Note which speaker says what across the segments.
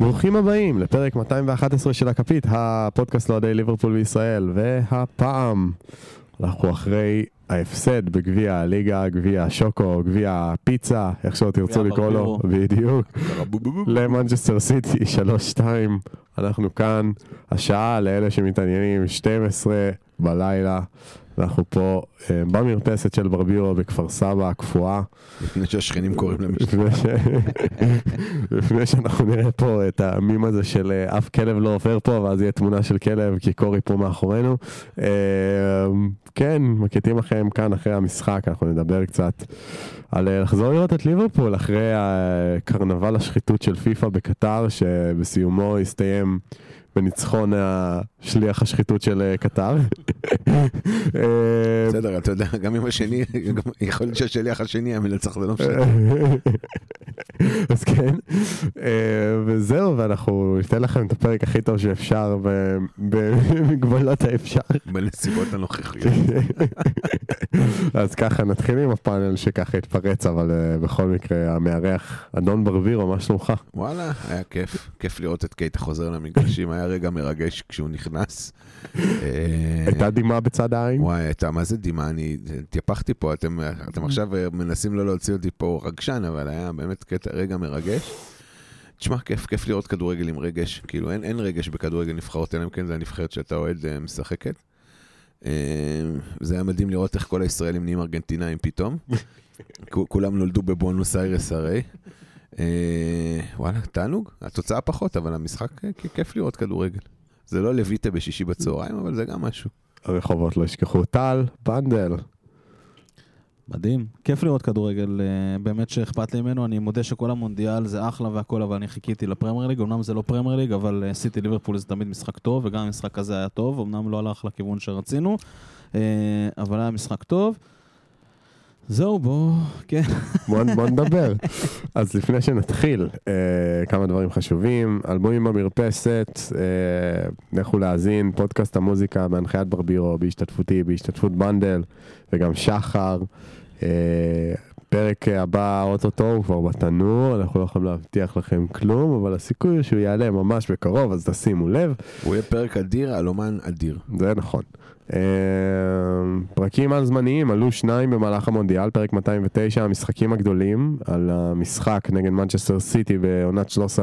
Speaker 1: ברוכים הבאים לפרק 211 של הכפית, הפודקאסט לאוהדי ליברפול בישראל, והפעם אנחנו אחרי ההפסד בגביע הליגה, גביע השוקו, גביע הפיצה, איך שלא תרצו
Speaker 2: גביע
Speaker 1: לקרוא לו,
Speaker 2: הברבירו.
Speaker 1: בדיוק, למנג'סטר סיטי 3-2, אנחנו כאן, השעה לאלה שמתעניינים, 12 בלילה, אנחנו פה אה, במרפסת של ברבירו בכפר סבא הקפואה.
Speaker 3: לפני שהשכנים קוראים למשטרה.
Speaker 1: לפני, ש... לפני שאנחנו נראה פה את המים הזה של אה, אף כלב לא עובר פה ואז יהיה תמונה של כלב כי קורי פה מאחורינו. אה, כן, מקליטים לכם כאן אחרי המשחק, אנחנו נדבר קצת על אה, לחזור לראות את ליברפול אחרי הקרנבל השחיתות של פיפא בקטר שבסיומו הסתיים בניצחון השליח השחיתות של אה, קטר. אה,
Speaker 3: בסדר, אתה יודע, גם אם השני, גם- יכול להיות שהשליח השני היה מנצח, זה לא משנה.
Speaker 1: אז כן, אה, וזהו, ואנחנו ניתן לכם את הפרק הכי טוב שאפשר ב- במגבלות האפשר.
Speaker 3: בנסיבות הנוכחיות.
Speaker 1: אז ככה נתחיל עם הפאנל שככה התפרץ, אבל אה, בכל מקרה המארח, אדון ברבירו, מה שלומך?
Speaker 3: וואלה, היה כיף. כיף לראות את קייטה חוזר למגרשים, היה רגע מרגש כשהוא נכנס. אה,
Speaker 1: הייתה דמעה בצד העין?
Speaker 3: וואי, הייתה, מה זה דמעה, אני טיפחתי פה, אתם אתם עכשיו אה, מנסים לא להוציא אותי פה רגשן, אבל היה באמת קטע, רגע מרגש. תשמע, כיף, כיף לראות כדורגל עם רגש. כאילו, אין, אין רגש בכדורגל נבחרות, אלא אם כן זה הנבחרת שאתה אוהד אה, משחקת. אה, זה היה מדהים לראות איך כל הישראלים נהיים ארגנטינאים פתאום. כו- כולם נולדו בבואנוס איירס הרי. אה, וואלה, תענוג. התוצאה פחות, אבל המשחק, אה, כ- כיף לראות כדורגל. זה לא לויטה בשישי בצהריים, אבל זה גם משהו.
Speaker 1: הרחובות לא ישכחו. טל, בנדל,
Speaker 2: מדהים, כיף לראות כדורגל, אה, באמת שאכפת לי ממנו, אני מודה שכל המונדיאל זה אחלה והכל, אבל אני חיכיתי לפרמייר ליג, אמנם זה לא פרמייר ליג, אבל אה, סיטי ליברפול זה תמיד משחק טוב, וגם המשחק הזה היה טוב, אמנם לא הלך לכיוון שרצינו, אה, אבל היה משחק טוב. זהו, בואו, כן,
Speaker 1: בוא, בוא נדבר. אז לפני שנתחיל, אה, כמה דברים חשובים. אלבומים במרפסת, אה, לכו להאזין, פודקאסט המוזיקה בהנחיית ברבירו, בהשתתפותי, בהשתתפות בנדל, וגם שחר. אה, פרק הבא, אוטוטו, הוא כבר בתנור, אנחנו לא יכולים להבטיח לכם כלום, אבל הסיכוי הוא שהוא יעלה ממש בקרוב, אז תשימו לב.
Speaker 3: הוא יהיה פרק אדיר על אומן אדיר.
Speaker 1: זה נכון. אה, פרקים על זמניים, עלו שניים במהלך המונדיאל, פרק 209, המשחקים הגדולים, על המשחק נגד מנצ'סטר סיטי בעונת 13-14.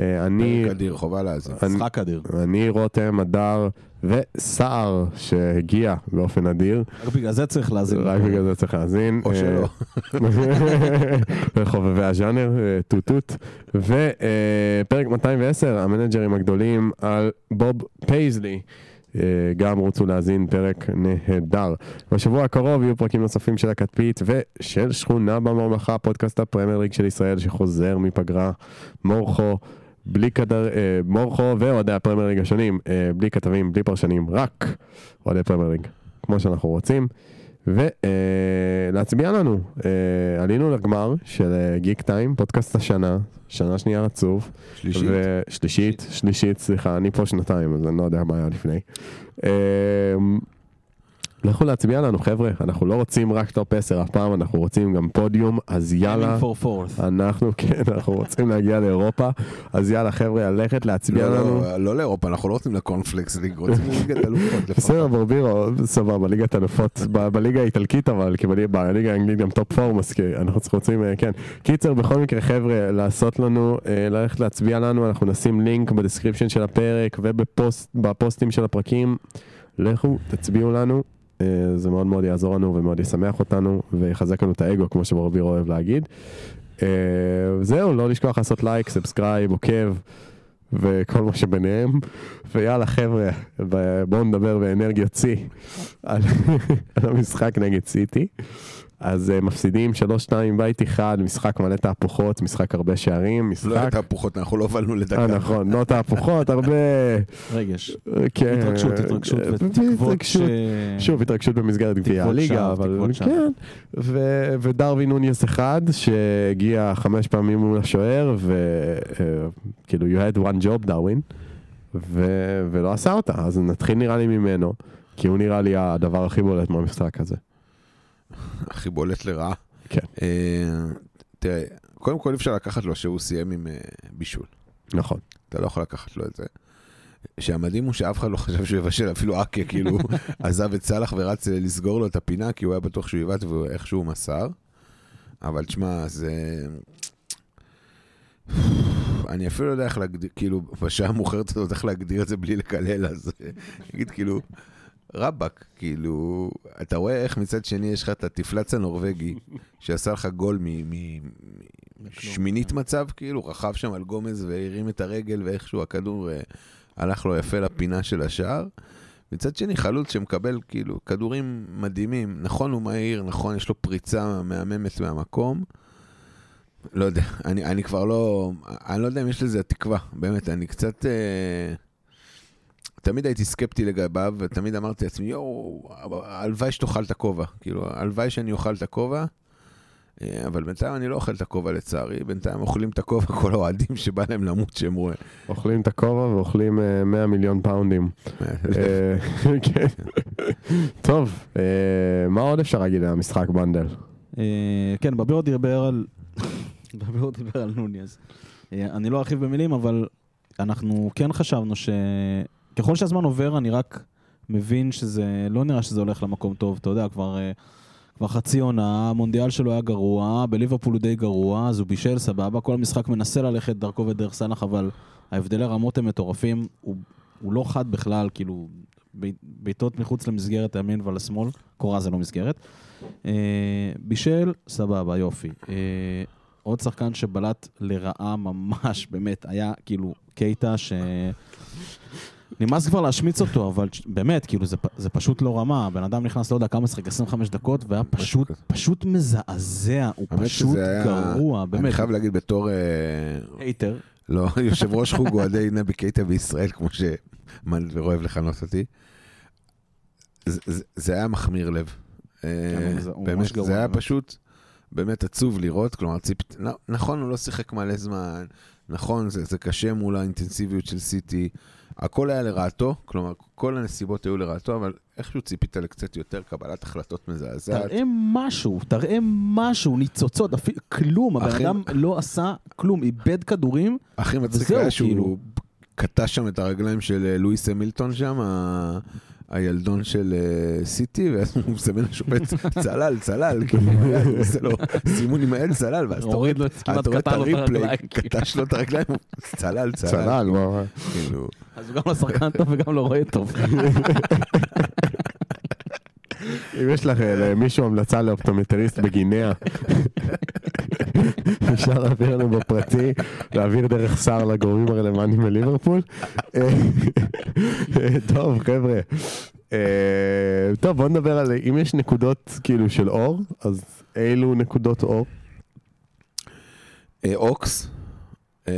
Speaker 1: אה, אני,
Speaker 3: פרק אדיר, חובה להאזין.
Speaker 1: אני-
Speaker 2: משחק אדיר.
Speaker 1: אני, רותם, הדר וסער, שהגיע באופן אדיר,
Speaker 2: רק בגלל זה צריך להאזין.
Speaker 1: רק בגלל זה צריך להאזין.
Speaker 3: נכון. או
Speaker 1: אה,
Speaker 3: שלא.
Speaker 1: לחובבי הז'אנר, אה, טוט טוט. ופרק 210, המנג'רים הגדולים על בוב פייזלי. אה, גם רוצו להאזין פרק נהדר. בשבוע הקרוב יהיו פרקים נוספים של הכתפית ושל שכונה בממלכה, פודקאסט הפרמייר ליג של ישראל שחוזר מפגרה. מורכו, בלי כדר, אה, מורכו ואוהדי הפרמייר ליג השונים, אה, בלי כתבים, בלי פרשנים, רק אוהדי פרמייר ליג, כמו שאנחנו רוצים. ולהצביע לנו, אה, עלינו לגמר של אה, גיק טיים, פודקאסט השנה, שנה שנייה רצוף.
Speaker 3: שלישית.
Speaker 1: ו- שלישית, שלישית, סליחה, אני פה שנתיים, אז אני לא יודע מה היה לפני. אה, לכו להצביע לנו חבר'ה, אנחנו לא רוצים רק טופ 10 הפעם, אנחנו רוצים גם פודיום, אז יאללה.
Speaker 2: Aiming for fourth.
Speaker 1: אנחנו כן, אנחנו רוצים להגיע לאירופה, אז יאללה חבר'ה, ללכת להצביע
Speaker 3: לא,
Speaker 1: לנו.
Speaker 3: לא, לא לאירופה, אנחנו לא רוצים לקורנפלקס ליג, רוצים לליגת אלופות
Speaker 1: בסדר,
Speaker 3: לפחות.
Speaker 1: ברבירו, סבבה, ליגת אלופות, ב- בליגה האיטלקית אבל, כי בלי- בליגה האנגלית גם טופ פורם, אז כי- אנחנו צריכים- רוצים, אה, כן. קיצר, בכל מקרה, חבר'ה, לעשות לנו, אה, ללכת להצביע לנו, אנחנו נשים לינק בדסקריפשן של הפרק ובפוסטים של הפרקים. לכו, תצביעו לנו, אה, זה מאוד מאוד יעזור לנו ומאוד ישמח אותנו, ויחזק לנו את האגו, כמו שברבירו אוהב להגיד. אה, זהו, לא לשכוח לעשות לייק, סאבסקרייב, עוקב. וכל מה שביניהם, ויאללה חבר'ה, ב- בואו נדבר באנרגיות שיא על, על המשחק נגד סיטי. אז אה, מפסידים 3-2 בית אחד, משחק מלא תהפוכות, משחק הרבה שערים, משחק...
Speaker 3: לא היה תהפוכות, אנחנו לא הובלנו
Speaker 1: אה,
Speaker 3: לדקה.
Speaker 1: נכון, לא תהפוכות, הרבה...
Speaker 2: רגש.
Speaker 1: כן.
Speaker 2: התרגשות, התרגשות ותקוות ש...
Speaker 1: התרגשות. שוב, התרגשות במסגרת גביע
Speaker 2: כן. תקוות
Speaker 1: הליגה,
Speaker 2: שווא,
Speaker 1: אבל
Speaker 2: תקוות שווא.
Speaker 1: כן. ו- ודרווין נוניס אחד, שהגיע חמש פעמים מול השוער, וכאילו, you had one job, דרווין, ו- ולא עשה אותה, אז נתחיל נראה לי ממנו, כי הוא נראה לי הדבר הכי בולט מהמשחק הזה.
Speaker 3: הכי בולט לרעה.
Speaker 1: כן.
Speaker 3: אה, תראה, קודם כל אי אפשר לקחת לו שהוא סיים עם אה, בישול.
Speaker 1: נכון.
Speaker 3: אתה לא יכול לקחת לו את זה. שהמדהים הוא שאף אחד לא חשב שהוא יבשל, אפילו אקיה כאילו עזב את סאלח ורץ לסגור לו את הפינה, כי הוא היה בטוח שהוא עיוות ואיכשהו מסר. אבל תשמע, זה... אני אפילו לא יודע איך להגדיר, כאילו, בשעה המאוחרת הזאת, איך להגדיר את זה בלי לקלל, אז נגיד כאילו, רבאק, כאילו, אתה רואה איך מצד שני יש לך את התפלץ הנורבגי, שעשה לך גול משמינית מצב, כאילו, רכב שם על גומז והרים את הרגל, ואיכשהו הכדור אה, הלך לו יפה לפינה של השער. מצד שני, חלוץ שמקבל כאילו כדורים מדהימים, נכון הוא מהיר, נכון, יש לו פריצה מהממת מהמקום. לא יודע, אני, אני כבר לא, אני לא יודע אם יש לזה תקווה, באמת, אני קצת... אה, תמיד הייתי סקפטי לגביו, ותמיד אמרתי לעצמי, יואו, הלוואי שתאכל את הכובע. כאילו, הלוואי שאני אוכל את הכובע, אה, אבל בינתיים אני לא אוכל את הכובע לצערי, בינתיים אוכלים את הכובע כל האוהדים שבא להם למות שהם רואים.
Speaker 1: אוכלים את הכובע ואוכלים אה, 100 מיליון פאונדים. אה, כן. טוב, אה, מה עוד אפשר להגיד על המשחק בנדל?
Speaker 2: אה, כן, בביאו דיבר על... בביאו דיבר על נוניאז. אה, אני לא ארחיב במילים, אבל אנחנו כן חשבנו שככל שהזמן עובר, אני רק מבין שזה... לא נראה שזה הולך למקום טוב, אתה יודע, כבר... אה, כבר חצי עונה, המונדיאל שלו היה גרוע, בליברפול הוא די גרוע, אז הוא בישל, סבבה, כל המשחק מנסה ללכת דרכו ודרך סאלח, אבל ההבדלי רמות הם מטורפים, הוא, הוא לא חד בכלל, כאילו, ב- בעיטות מחוץ למסגרת הימין ולשמאל, קורה זה לא מסגרת. אה, בישל, סבבה, יופי. אה, עוד שחקן שבלט לרעה ממש, באמת, היה כאילו קייטה ש... נמאס כבר להשמיץ אותו, אבל ש- באמת, כאילו, זה, פ- זה פשוט לא רמה. הבן אדם נכנס, לא יודע כמה משחק, 25 דקות, והיה פשוט, פשוט מזעזע, הוא
Speaker 3: האמת
Speaker 2: פשוט
Speaker 3: שזה היה-
Speaker 2: גרוע,
Speaker 3: אני
Speaker 2: באמת.
Speaker 3: חייב להגיד בתור, אה,
Speaker 2: הייטר.
Speaker 3: לא, יושב ראש חוג אוהדי נבי קייטה בישראל, כמו שמנדבר אוהב לכנות אותי, זה- זה- זה היה מחמיר לב. אה,
Speaker 2: אבל זה- כן, הוא
Speaker 3: באמת,
Speaker 2: ממש גרוע,
Speaker 3: זה היה
Speaker 2: באמת.
Speaker 3: פשוט באמת עצוב לראות, כלומר, ציפ- נ- נכון, הוא לא שיחק מלא זמן, נכון, זה זה קשה מול האינטנסיביות של סיטי, הכל היה לרעתו, כלומר, כל הנסיבות היו לרעתו, אבל איכשהו ציפית לקצת יותר קבלת החלטות מזעזעת.
Speaker 2: תראה משהו, תראה משהו, ניצוצות, אפילו כלום, הבן
Speaker 3: אחי-
Speaker 2: אדם לא עשה כלום, איבד כדורים.
Speaker 3: הכי מצחיק
Speaker 2: וזהו,
Speaker 3: היה שהוא
Speaker 2: כאילו.
Speaker 3: קטע שם את הרגליים של אה, לואיס המילטון שם, ה- הילדון של אה, סיטי, ואז הוא מסמן לשופט צלל, צלל, כאילו, היה, הוא עושה לו סימון עם היד צלל, ואז אתה רואה
Speaker 2: כן. הוריד לו את- כמעט
Speaker 3: אתה רואה
Speaker 2: קטע לו את
Speaker 3: הריפליי,
Speaker 2: הרגליים.
Speaker 3: קטש לו את הרגליים, הוא צלל, צלל,
Speaker 1: צלל, מה?
Speaker 3: כאילו.
Speaker 2: אז הוא גם לא שחקן טוב וגם לא רואה טוב.
Speaker 1: אם יש לך אה, למישהו המלצה לאופטומטריסט בגינאה, אפשר להעביר לנו בפרטי, להעביר דרך שר לגורמים הרלוונטיים בליברפול. אה, אה, טוב, חבר'ה. אה, טוב, בוא נדבר על אם יש נקודות כאילו של אור, אז אילו נקודות אור?
Speaker 3: אה, אוקס, אה,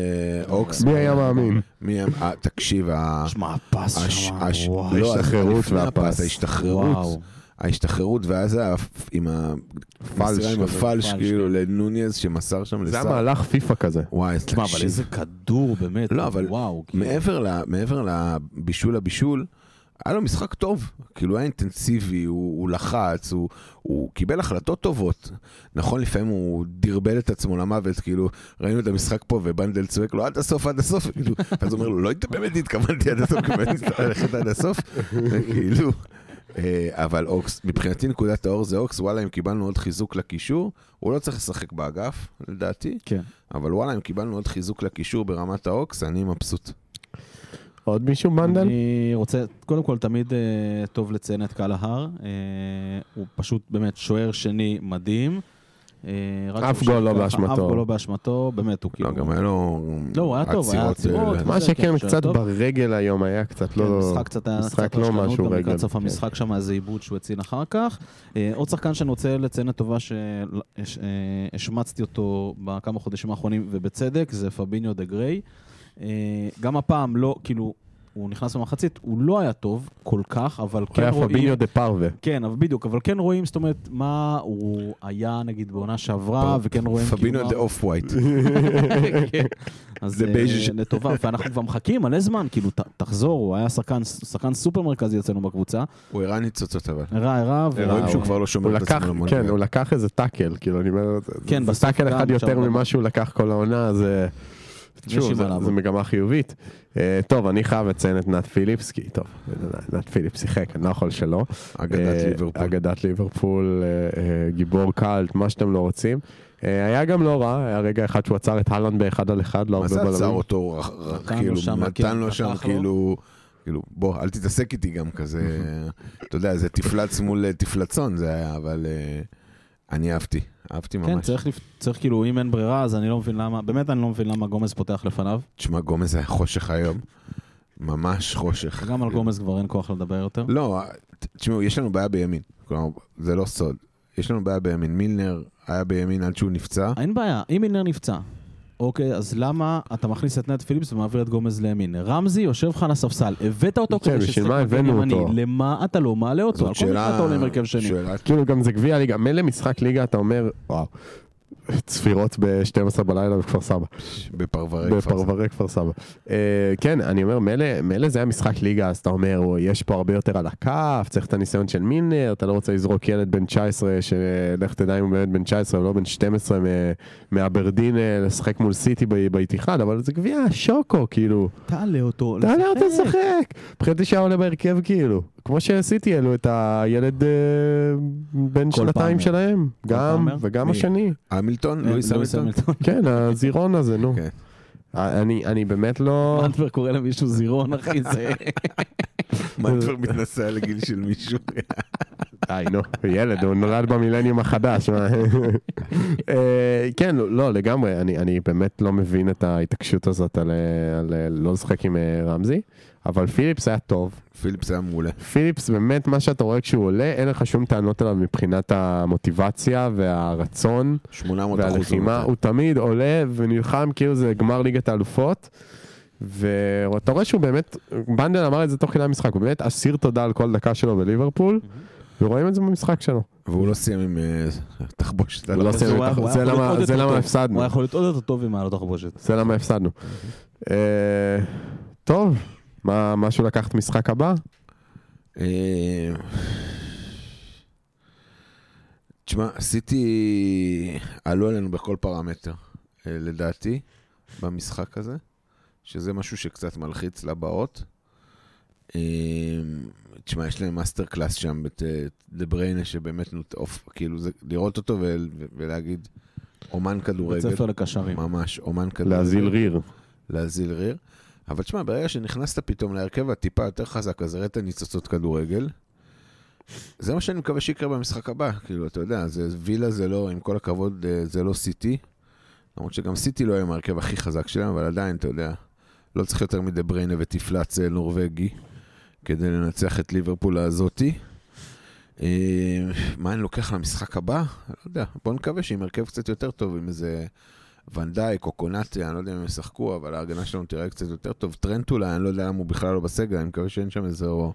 Speaker 3: אוקס.
Speaker 1: מי היה מאמין?
Speaker 3: מי היה- אה, תקשיב, ה-
Speaker 2: שמע, הפס
Speaker 3: הש-
Speaker 2: שם,
Speaker 3: הש-
Speaker 2: וואו.
Speaker 3: לא,
Speaker 1: ההשתחררות
Speaker 3: לפני הפס,
Speaker 1: והפס.
Speaker 3: ההשתחררות, ההשתחררות, ואז ה- עם ה...
Speaker 1: פלש כזה,
Speaker 3: עם הפלש,
Speaker 2: פלש, כן.
Speaker 3: כאילו, לנוניז שמסר שם
Speaker 1: זה
Speaker 3: לסער.
Speaker 1: היה מהלך פיפא כזה.
Speaker 3: וואי, אז
Speaker 2: תשמע, אבל
Speaker 3: תקשיב.
Speaker 2: איזה כדור, באמת.
Speaker 3: לא, אבל
Speaker 2: וואו. כאילו.
Speaker 3: מעבר, ל, מעבר לבישול הבישול, היה לו משחק טוב. כאילו, היה אינטנסיבי, הוא, הוא לחץ, הוא, הוא קיבל החלטות טובות. נכון, לפעמים הוא דרבל את עצמו למוות, כאילו, ראינו את המשחק פה ובנדל צועק לו עד הסוף, עד הסוף, כאילו, אז הוא אומר לו, לא הת- באמת התכוונתי עד הסוף, כאילו, אני צריך ללכת עד הסוף, כאילו. אה, אבל אוקס, מבחינתי נקודת האור זה אוקס, וואלה, אם קיבלנו עוד חיזוק לקישור, הוא לא צריך לשחק באגף, לדעתי.
Speaker 2: כן.
Speaker 3: אבל וואלה, אם קיבלנו עוד חיזוק לקישור ברמת האוקס, אני מבסוט.
Speaker 1: עוד מישהו מנדל?
Speaker 2: אני רוצה, קודם כל, תמיד אה, טוב לציין את קהל ההר. אה, הוא פשוט באמת שוער שני מדהים. אה, רק
Speaker 1: אף
Speaker 2: שהוא
Speaker 1: גול
Speaker 2: שם
Speaker 1: לא
Speaker 2: ככה,
Speaker 1: באשמתו.
Speaker 2: אף גול לא באשמתו, באמת, הוא כאילו...
Speaker 3: לא, גם היה לו...
Speaker 2: לא, הוא היה טוב, היה עצירות.
Speaker 3: אה,
Speaker 1: מה
Speaker 2: זה, כן,
Speaker 1: שכן,
Speaker 2: שוער
Speaker 1: קצת
Speaker 2: טוב.
Speaker 1: ברגל היום היה קצת
Speaker 2: כן,
Speaker 1: לא...
Speaker 2: משחק קצת היה
Speaker 1: משחק
Speaker 2: קצת
Speaker 1: לא
Speaker 2: רשלנות,
Speaker 1: משהו
Speaker 2: גם
Speaker 1: רגל,
Speaker 2: לקראת סוף
Speaker 1: כן.
Speaker 2: המשחק שם איזה עיבוד שהוא הציל אחר כך. אה, עוד שחקן שאני רוצה לציין לטובה שהשמצתי אותו בכמה חודשים האחרונים, ובצדק, זה פביניו דה גריי. אה, גם הפעם לא, כאילו, הוא נכנס במחצית, הוא לא היה טוב כל כך, אבל
Speaker 1: הוא
Speaker 2: כן
Speaker 1: היה
Speaker 2: רואים...
Speaker 1: פביניו דה פרווה.
Speaker 2: כן, אבל בדיוק, אבל כן רואים, זאת אומרת, מה הוא היה נגיד בעונה שעברה,
Speaker 3: פ-
Speaker 2: וכן רואים כאילו,
Speaker 3: פבינו
Speaker 2: מה-
Speaker 3: דה אוף ווייט.
Speaker 2: כן. אז
Speaker 3: זה
Speaker 2: אה,
Speaker 3: בייז' ש-
Speaker 2: לטובה, ואנחנו כבר מחכים מלא זמן, כאילו, ת- תחזור, הוא היה שחקן- שחקן סופר מרכזי אצלנו בקבוצה.
Speaker 3: הוא הראה ניצוצות אבל.
Speaker 2: הרע, הרע, ו- כן,
Speaker 3: רואים שהוא
Speaker 1: הוא-
Speaker 3: כבר לא
Speaker 1: הוא
Speaker 3: שומר את
Speaker 1: לקח,
Speaker 3: עצמו למונדיאל.
Speaker 1: כן, הוא לקח איזה טאקל, כאילו אני אומר,
Speaker 2: כן,
Speaker 1: זה
Speaker 2: בסוף
Speaker 1: טאקל
Speaker 2: גם
Speaker 1: אחד
Speaker 2: שם
Speaker 1: יותר
Speaker 2: גם.
Speaker 1: ממה שהוא לקח כל העונה, זה שוב,
Speaker 2: יש
Speaker 1: זה-
Speaker 2: מה לעבוד.
Speaker 1: זו מגמה חיובית. אה, טוב, אני חייב לציין את נת פיליפס, כי טוב, נת פיליפס שיחק, אני לא יכול שלא.
Speaker 3: אגדת
Speaker 1: אה,
Speaker 3: ליברפול.
Speaker 1: אגדת ליברפול, אה, אה, גיבור קאלט, מה שאתם לא רוצים. אה, היה גם לא רע, היה רגע אחד שהוא עצר את הלנד באחד על אחד, לא
Speaker 3: מה
Speaker 1: הרבה
Speaker 3: זה עצר
Speaker 1: בלמים.
Speaker 3: אותו, ר- ר-
Speaker 2: נתן לו
Speaker 3: כאילו,
Speaker 2: שם,
Speaker 3: נתן
Speaker 2: כן,
Speaker 3: לו
Speaker 2: פתח
Speaker 3: שם,
Speaker 2: לו.
Speaker 3: כאילו, כאילו, בוא, אל תתעסק איתי גם כזה, אתה יודע, זה תפלץ מול אה, תפלצון זה היה, אבל אה, אני אהבתי, אהבתי
Speaker 2: כן,
Speaker 3: ממש.
Speaker 2: צריך, לפ- צריך כאילו, אם אין ברירה, אז אני לא מבין למה, באמת אני לא מבין למה גומז פותח לפניו,
Speaker 3: תשמע, גומז היה חושך היום, ממש חושך.
Speaker 2: וגם על גומז כבר אין כוח לדבר יותר.
Speaker 3: לא, ת- תשמעו, יש לנו בעיה בימין, כלומר, זה לא סוד. יש לנו בעיה בימין, מילנר היה בימין עד שהוא נפצע.
Speaker 2: אין בעיה, אם מילנר נפצע, אוקיי, אז למה אתה מכניס את נט פיליפס ומעביר את גומז לימין? רמזי יושב לך על הספסל, הבאת אותו
Speaker 1: כן, בשביל מה
Speaker 2: מגן
Speaker 1: הבאנו
Speaker 2: ימני,
Speaker 1: אותו?
Speaker 2: למה אתה לא מעלה אותו? על כל מקרה אתה עולה עם הרכב שני.
Speaker 3: שאלה
Speaker 1: כאילו גם זה גביע ליגה, מילא משחק ליגה אתה אומר, וואו, צפירות ב-12 בלילה בכפר סבא.
Speaker 3: בפרברי כפר סבא.
Speaker 1: בפרברי כפר סבא. אה, כן, אני אומר, מילא- מילא זה היה משחק ליגה, אז אתה אומר, "או, יש פה הרבה יותר על הכף, צריך את הניסיון של מילנר, אתה לא רוצה לזרוק ילד בן 19, שלך תדע אם הוא באמת בן 19 או לא בן 12 מ- מאברדין אה, לשחק מול סיטי ב- באיתיחד, אבל זה גביע שוקו, כאילו,
Speaker 2: תעלה אותו,
Speaker 1: תעלה אותו לשחק. מבחינתי שהיה עולה בהרכב, כאילו, כמו שסיטי העלו את הילד אה, בן
Speaker 2: קול
Speaker 1: שנתיים
Speaker 2: פאלמר.
Speaker 1: שלהם, גם,
Speaker 2: פאלמר?
Speaker 1: וגם
Speaker 3: מי?
Speaker 1: השני.
Speaker 2: אה,
Speaker 3: המילטון? לואיס המילטון?
Speaker 1: כן, הזירון הזה, נו.
Speaker 3: כן.
Speaker 1: אני אני באמת לא...
Speaker 2: מנדבר קורא למישהו זירון, אחי, זה...
Speaker 3: מה כבר מתנשא על הגיל של מישהו?
Speaker 1: די, נו, ילד, הוא נולד במילניום החדש. מה? אה, כן, לא, לגמרי, אני אני באמת לא מבין את ההתעקשות הזאת על אה, על, אה, לא לשחק עם אה, רמזי, אבל פיליפס היה טוב.
Speaker 3: פיליפס היה מעולה.
Speaker 1: פיליפס, באמת, מה שאתה רואה כשהוא עולה, אין לך שום טענות אליו מבחינת המוטיבציה והרצון
Speaker 3: 800 אחוז.
Speaker 1: והלחימה. הוא תמיד עולה ונלחם כאילו זה גמר ליגת האלופות. ואתה רואה שהוא באמת, בנדל אמר את זה תוך כדי המשחק, הוא באמת אסיר תודה על כל דקה שלו בליברפול, ורואים את זה במשחק שלו.
Speaker 3: והוא לא סיים עם אה, תחבושת.
Speaker 1: הוא לא סיים
Speaker 2: הוא היה-
Speaker 1: את
Speaker 2: הוא
Speaker 1: החוזה,
Speaker 2: היה יכול
Speaker 1: למה-
Speaker 2: להיות
Speaker 1: זה
Speaker 2: יותר
Speaker 1: למה
Speaker 2: טוב.
Speaker 1: הפסדנו,
Speaker 2: הוא היה יכול אוקיי. להיות עוד יותר טוב אם היה לו תחבושת.
Speaker 1: זה למה הפסדנו. אה, טוב, מה- משהו לקחת משחק הבא?
Speaker 3: אה, תשמע, סיטי עלו עלינו בכל פרמטר, אה, לדעתי, במשחק הזה, שזה משהו שקצת מלחיץ לבאות. אה, תשמע, יש להם מאסטר קלאס שם, את אה, דה בריינה, שבאמת נוטעוף, כאילו, זה, לראות אותו ו- ו- ולהגיד, אומן
Speaker 2: בית
Speaker 3: כדורגל.
Speaker 2: ספר לקשרים.
Speaker 3: ממש, אומן כדורגל.
Speaker 1: להזיל ריר.
Speaker 3: להזיל ריר. אבל תשמע, ברגע שנכנסת פתאום להרכב הטיפה יותר חזק, אז ראית ניצוצות כדורגל. זה מה שאני מקווה שיקרה במשחק הבא. כאילו, אתה יודע, זה, וילה זה לא, עם כל הכבוד, אה, זה לא סיטי. למרות שגם סיטי לא היה עם ההרכב הכי חזק שלהם, אבל עדיין, אתה יודע, לא צריך יותר מדה בריינה ותפלץ אה, נורבגי כדי לנצח את ליברפול הזאתי. אה, מה אני לוקח למשחק הבא? לא יודע, בוא נקווה שעם הרכב קצת יותר טוב, עם איזה ונדייק או קונאטה, אני לא יודע אם הם ישחקו, אבל ההגנה שלנו תראה קצת יותר טוב. טרנט אולי, אני לא יודע למה הוא בכלל לא בסגל, אני מקווה שאין שם איזו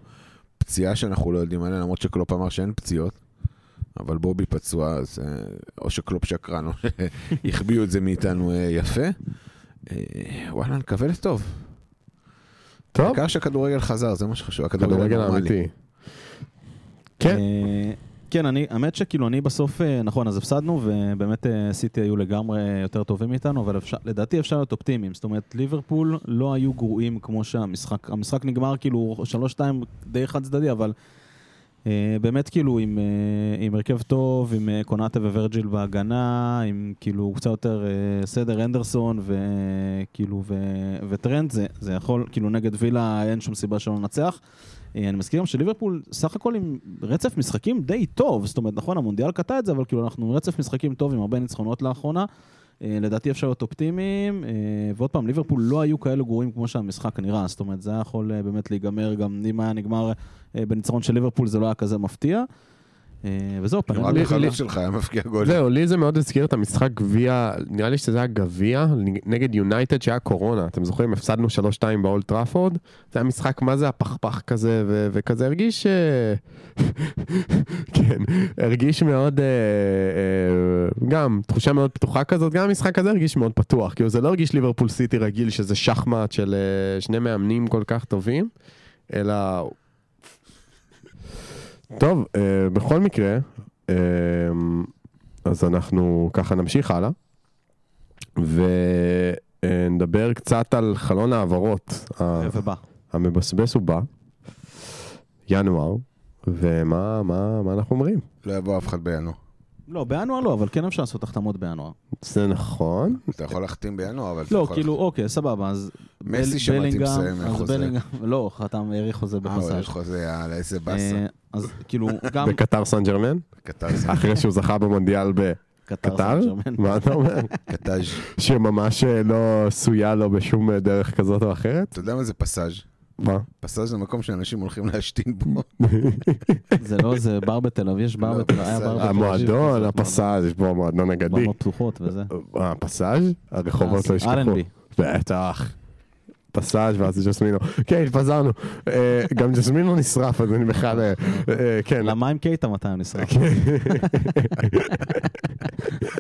Speaker 3: פציעה שאנחנו לא יודעים עליה, למרות שקלופ אמר שאין פציעות. אבל בובי פצוע, אז אה, או שקלופ שקרן, או שהחביאו את זה מאיתנו אה, יפה. אה, וואלה, נקווה לטוב.
Speaker 1: טוב,
Speaker 3: העיקר שהכדורגל חזר, זה מה שחשוב, הכדורגל
Speaker 1: כדורגל
Speaker 3: הנורמלי.
Speaker 1: אמיתי. כן,
Speaker 2: אה, כן, אני, האמת שכאילו אני בסוף, אה, נכון, אז הפסדנו, ובאמת אה, סיטי היו לגמרי יותר טובים מאיתנו, אבל אפשר, לדעתי אפשר להיות אופטימיים. זאת אומרת, ליברפול לא היו גרועים כמו שהמשחק, המשחק נגמר כאילו 3-2 די חד צדדי, אבל אה, באמת כאילו עם, אה, עם הרכב טוב, עם אה, קונאטה וורג'יל בהגנה, עם כאילו קצת יותר אה, סדר אנדרסון וכאילו ו, וטרנד, זה, זה יכול, כאילו נגד וילה אין שום סיבה שלא לנצח. אה, אני מזכיר גם שליברפול סך הכל עם רצף משחקים די טוב, זאת אומרת, נכון, המונדיאל קטע את זה, אבל כאילו אנחנו עם רצף משחקים טוב עם הרבה ניצחונות לאחרונה. אה, לדעתי אפשר להיות אופטימיים, אה, ועוד פעם, ליברפול לא היו כאלה גרועים כמו שהמשחק נראה, זאת אומרת, זה היה יכול אה, באמת להיגמר, גם אם היה נגמר אה, בניצחון של ליברפול זה לא היה כזה מפתיע. אה, וזהו, פנינו...
Speaker 3: רק
Speaker 1: לי-
Speaker 3: החלוץ שלך היה מבקיע גול.
Speaker 1: זהו, לי זה מאוד הזכיר את המשחק גביע, נראה לי שזה היה גביע נגד יונייטד שהיה קורונה. אתם זוכרים, הפסדנו 3-2 באולט טראפורד? זה היה משחק, מה זה הפכפך כזה, ו- וכזה הרגיש... אה, כן, הרגיש מאוד... אה, אה, גם תחושה מאוד פתוחה כזאת, גם המשחק הזה הרגיש מאוד פתוח. כאילו זה לא הרגיש ליברפול סיטי רגיל, שזה שחמט של אה, שני מאמנים כל כך טובים, אלא... טוב, אה, בכל מקרה, אה, אז אנחנו ככה נמשיך הלאה. ו... אה, נדבר קצת על חלון ההעברות. ה-
Speaker 2: ובא.
Speaker 1: המבסבס הוא בא, ינואר, ומה מה, מה אנחנו אומרים?
Speaker 3: לא יבוא אף אחד בינואר.
Speaker 2: לא, בינואר לא, אבל כן אפשר לעשות החתמות בינואר.
Speaker 1: זה נכון.
Speaker 3: אתה יכול להחתים בינואר, אבל אתה
Speaker 2: לא,
Speaker 3: יכול...
Speaker 2: כאילו, אוקיי, סבבה, אז...
Speaker 3: מסי
Speaker 2: בל-
Speaker 3: שמעתי
Speaker 2: בלינגהאם-
Speaker 3: מסיים
Speaker 2: אז
Speaker 3: חוזה.
Speaker 2: בלינגהאם- לא, חתם, האריך חוזה
Speaker 3: אה, הוא יש
Speaker 2: בפסאז'.
Speaker 3: חוזה, יאללה, איזה באסה.
Speaker 2: אה, אז כאילו, גם
Speaker 1: בקטר סן ג'רמן,
Speaker 3: קטז,
Speaker 1: אחרי שהוא זכה במונדיאל
Speaker 2: קטר,
Speaker 1: בקטר?
Speaker 2: סן ג'רמן.
Speaker 1: מה אתה אומר?
Speaker 3: קטז'.
Speaker 1: שממש אה, לא סויה לו בשום אה, דרך כזאת או אחרת?
Speaker 3: אתה יודע מה זה פסאז'?
Speaker 1: מה?
Speaker 3: פסאז' זה מקום שאנשים הולכים להשתין בו.
Speaker 2: זה לא, זה בר בתל אביב, יש בר
Speaker 3: לא,
Speaker 2: בתל היה בר
Speaker 3: בסדר.
Speaker 2: בתל אביב.
Speaker 1: המועדון,
Speaker 2: כזה,
Speaker 1: הפסאז', יש פה המועדון אגדי.
Speaker 2: במות פתוחות וזה. אה,
Speaker 1: אה, הפסאז'? הרחובות
Speaker 2: אז
Speaker 1: לא ישכחו.
Speaker 2: אלנבי.
Speaker 1: בטח. פסאז' ואז ג'סמינו. כן, התפזרנו. אה, גם ג'סמינו נשרף, אז אני בכלל... אה, אה, כן.
Speaker 2: למה עם קייטה 200 נשרף?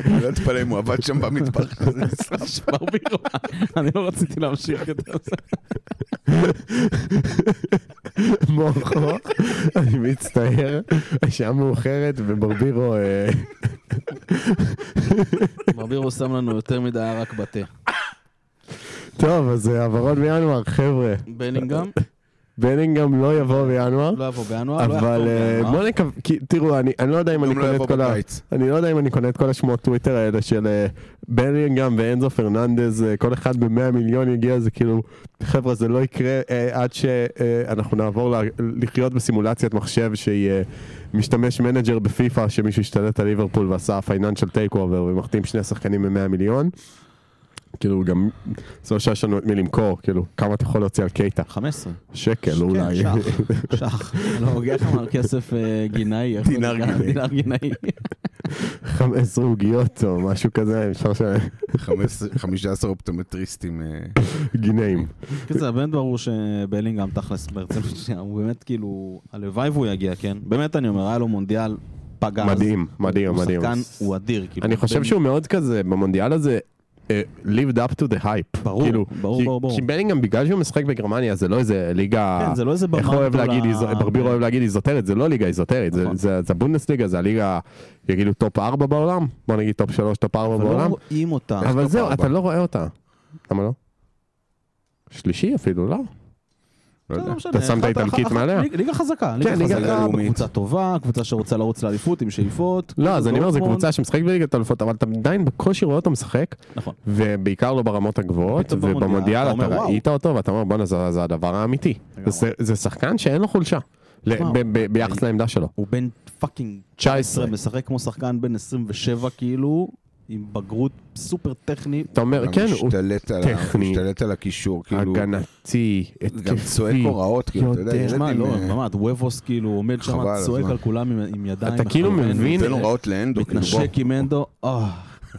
Speaker 3: אני לא אתפלא אם הוא עבד שם במטבח הזה.
Speaker 2: נשבר בירה. אני לא רציתי להמשיך יותר.
Speaker 1: מוחו, אני מצטער, השעה מאוחרת וברבירו... אה,
Speaker 2: מרבירו שם לנו יותר מדי רק בתה.
Speaker 1: טוב, אז אה, העברות בינואר, חבר'ה.
Speaker 2: בלינגהם
Speaker 1: בלינגהם לא יבוא בינואר.
Speaker 2: לא יבוא בינואר, לא יחתום
Speaker 1: אבל אה,
Speaker 2: בינואר.
Speaker 1: בוא נקווה, כי- תראו, אני אני לא יודע אם אני
Speaker 3: גם לא
Speaker 1: קונה
Speaker 3: יבוא
Speaker 1: את כל ה...
Speaker 3: בקיץ.
Speaker 1: אני לא יודע אם אני קונה את כל השמות טוויטר האלה של אה, בלינגהם ואנזו פרננדז, אה, כל אחד ב-100 מיליון יגיע, זה כאילו, חבר'ה, זה לא יקרה אה, עד שאנחנו נעבור ל- לחיות בסימולציית מחשב שהיא אה, משתמש מנג'ר בפיפא, שמישהו השתלט על ליברפול ועשה פייננשל טייק אובר ומחתים שני שחקנים ב-100 מיליון. כאילו גם, זה לא שיש לנו את מי למכור, כאילו, כמה אתה יכול להוציא על קייטה?
Speaker 2: 15.
Speaker 1: שקל אולי.
Speaker 2: כן, שח, שח. לא, הוגח אמר כסף אה, גינאי. איך זה
Speaker 3: דינר
Speaker 2: נקרא?
Speaker 3: גינאי.
Speaker 2: דינר גינאי.
Speaker 1: 15 עוגיות או משהו כזה, אפשר ש...
Speaker 3: 15 15 אופטומטריסטים. אה,
Speaker 1: גינאים.
Speaker 2: קיצר, באמת ברור שבלינגהם תכלס ברצינות שנייה, הוא באמת כאילו, הלוואי והוא יגיע, כן? באמת אני אומר, היה לו מונדיאל פגז.
Speaker 1: מדהים, מדהים,
Speaker 2: הוא
Speaker 1: מדהים.
Speaker 2: שחקן, הוא אדיר. כאילו,
Speaker 1: אני חושב
Speaker 2: בין-
Speaker 1: שהוא מאוד כזה, במונדיאל הזה, אה, lived up to the hype.
Speaker 2: ברור,
Speaker 1: כאילו,
Speaker 2: ברור,
Speaker 1: כי-
Speaker 2: ברור, ברור.
Speaker 1: כי בלינגהם, בגלל שהוא משחק בגרמניה, זה לא איזה ליגה...
Speaker 2: כן, זה לא איזה במה
Speaker 1: איך הוא אוהב
Speaker 2: גדולה.
Speaker 1: להגיד, איז- ברביר אוהב להגיד איזוטרית, זה לא ליגה איזוטרית, זה-
Speaker 2: נכון.
Speaker 1: זה זה הבונדסליגה, זה הליגה, יגידו טופ 4 בעולם? בוא נגיד טופ 3, טופ 4
Speaker 2: אבל לא
Speaker 1: בעולם.
Speaker 2: רואים אותה.
Speaker 1: אבל
Speaker 3: טופ
Speaker 1: זהו,
Speaker 3: ארבע?
Speaker 1: אתה לא רואה אותה. למה לא? שלישי אפילו, לא?
Speaker 3: לא יודע.
Speaker 2: לא משנה,
Speaker 1: אתה שם את
Speaker 2: אחת-
Speaker 1: האיטלקית
Speaker 2: אחת-
Speaker 1: מעליה?
Speaker 2: ליג- ליגה חזקה, ליגה
Speaker 1: כן, ליגה
Speaker 2: חזקה,
Speaker 3: לאומית.
Speaker 2: קבוצה טובה, קבוצה שרוצה לרוץ לאליפות עם שאיפות.
Speaker 1: לא, אז אני אומר, זו
Speaker 2: דורטמונד.
Speaker 1: קבוצה שמשחקת בליגת האלופות, אבל אתה עדיין בקושי רואה אותו משחק,
Speaker 2: נכון.
Speaker 1: ובעיקר לא ברמות הגבוהות,
Speaker 2: פתאום במונדיאל,
Speaker 1: ובמונדיאל
Speaker 2: אתה
Speaker 1: אתה
Speaker 2: אומר, וואו.
Speaker 1: ראית אותו, ואתה אומר, בואנה, זה זה הדבר האמיתי.
Speaker 2: לגמרי.
Speaker 1: זה- זה שחקן שאין לו חולשה, ל-
Speaker 2: וואו.
Speaker 1: ב- ב- ביחס לעמדה שלו.
Speaker 2: הוא בן פאקינג
Speaker 1: 19.
Speaker 2: 19, משחק כמו שחקן בן 27 כאילו, עם בגרות סופר טכנית.
Speaker 1: אתה אומר,
Speaker 3: גם
Speaker 1: כן, הוא
Speaker 3: משתלט על ה-
Speaker 1: טכני.
Speaker 3: משתלט על הקישור, כאילו,
Speaker 1: הגנתי,
Speaker 3: גם צועק
Speaker 1: התקפי.
Speaker 3: הוראות, כאילו, אתה יודע,
Speaker 1: יודע,
Speaker 3: ילד
Speaker 2: תשמע,
Speaker 3: עם,
Speaker 2: לא,
Speaker 3: אה,
Speaker 2: ממש, וובוס כאילו עומד שם,
Speaker 3: חבל,
Speaker 2: צועק
Speaker 3: הזמן.
Speaker 2: על כולם עם- עם ידיים.
Speaker 1: אתה כאילו
Speaker 2: מכוון,
Speaker 1: מבין-
Speaker 3: נותן הוראות לאנדו, כאילו, בוא.
Speaker 2: מתנשק עם אנדו, אה,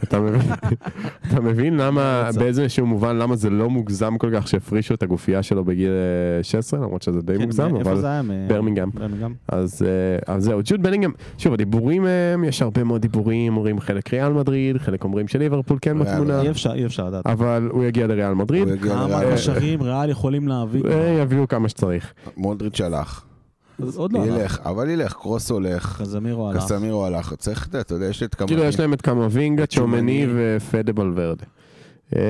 Speaker 1: אתה מבין- אתה מבין למה,
Speaker 2: קצת.
Speaker 1: באיזשהו מובן, למה זה לא מוגזם כל כך שהפרישו את הגופייה שלו בגיל אה, 16, למרות שזה די
Speaker 2: כן,
Speaker 1: מוגזם,
Speaker 2: מאיפה
Speaker 1: אבל
Speaker 2: זה היה? מ-
Speaker 1: ברמינגהם.
Speaker 2: ברמינגהם.
Speaker 1: אז, אה, אז זהו, ג'וד בלינגהם, שוב הדיבורים הם, יש הרבה מאוד דיבורים, אומרים חלק ריאל מדריד, חלק אומרים שליברפול כן
Speaker 3: ריאל
Speaker 1: בתמונה,
Speaker 2: אי אפשר, אי אפשר לדעת.
Speaker 1: אבל הוא יגיע לריאל מדריד,
Speaker 3: הוא יגיע
Speaker 2: כמה
Speaker 3: לריאל.
Speaker 2: קשרים ריאל יכולים להביא?
Speaker 1: אה, יביאו כמה שצריך.
Speaker 3: מודריץ' הלך.
Speaker 2: אז עוד לא הלך.
Speaker 3: ילך, אבל ילך, קרוס הולך,
Speaker 2: קזמירו הלך.
Speaker 3: קסמירו הלך, צריך, אתה יודע, יש את כמה...
Speaker 1: כאילו יש להם את קמבינגה, צ'ומני
Speaker 3: צ'ומני.
Speaker 1: ופדה בלוורדה. אה,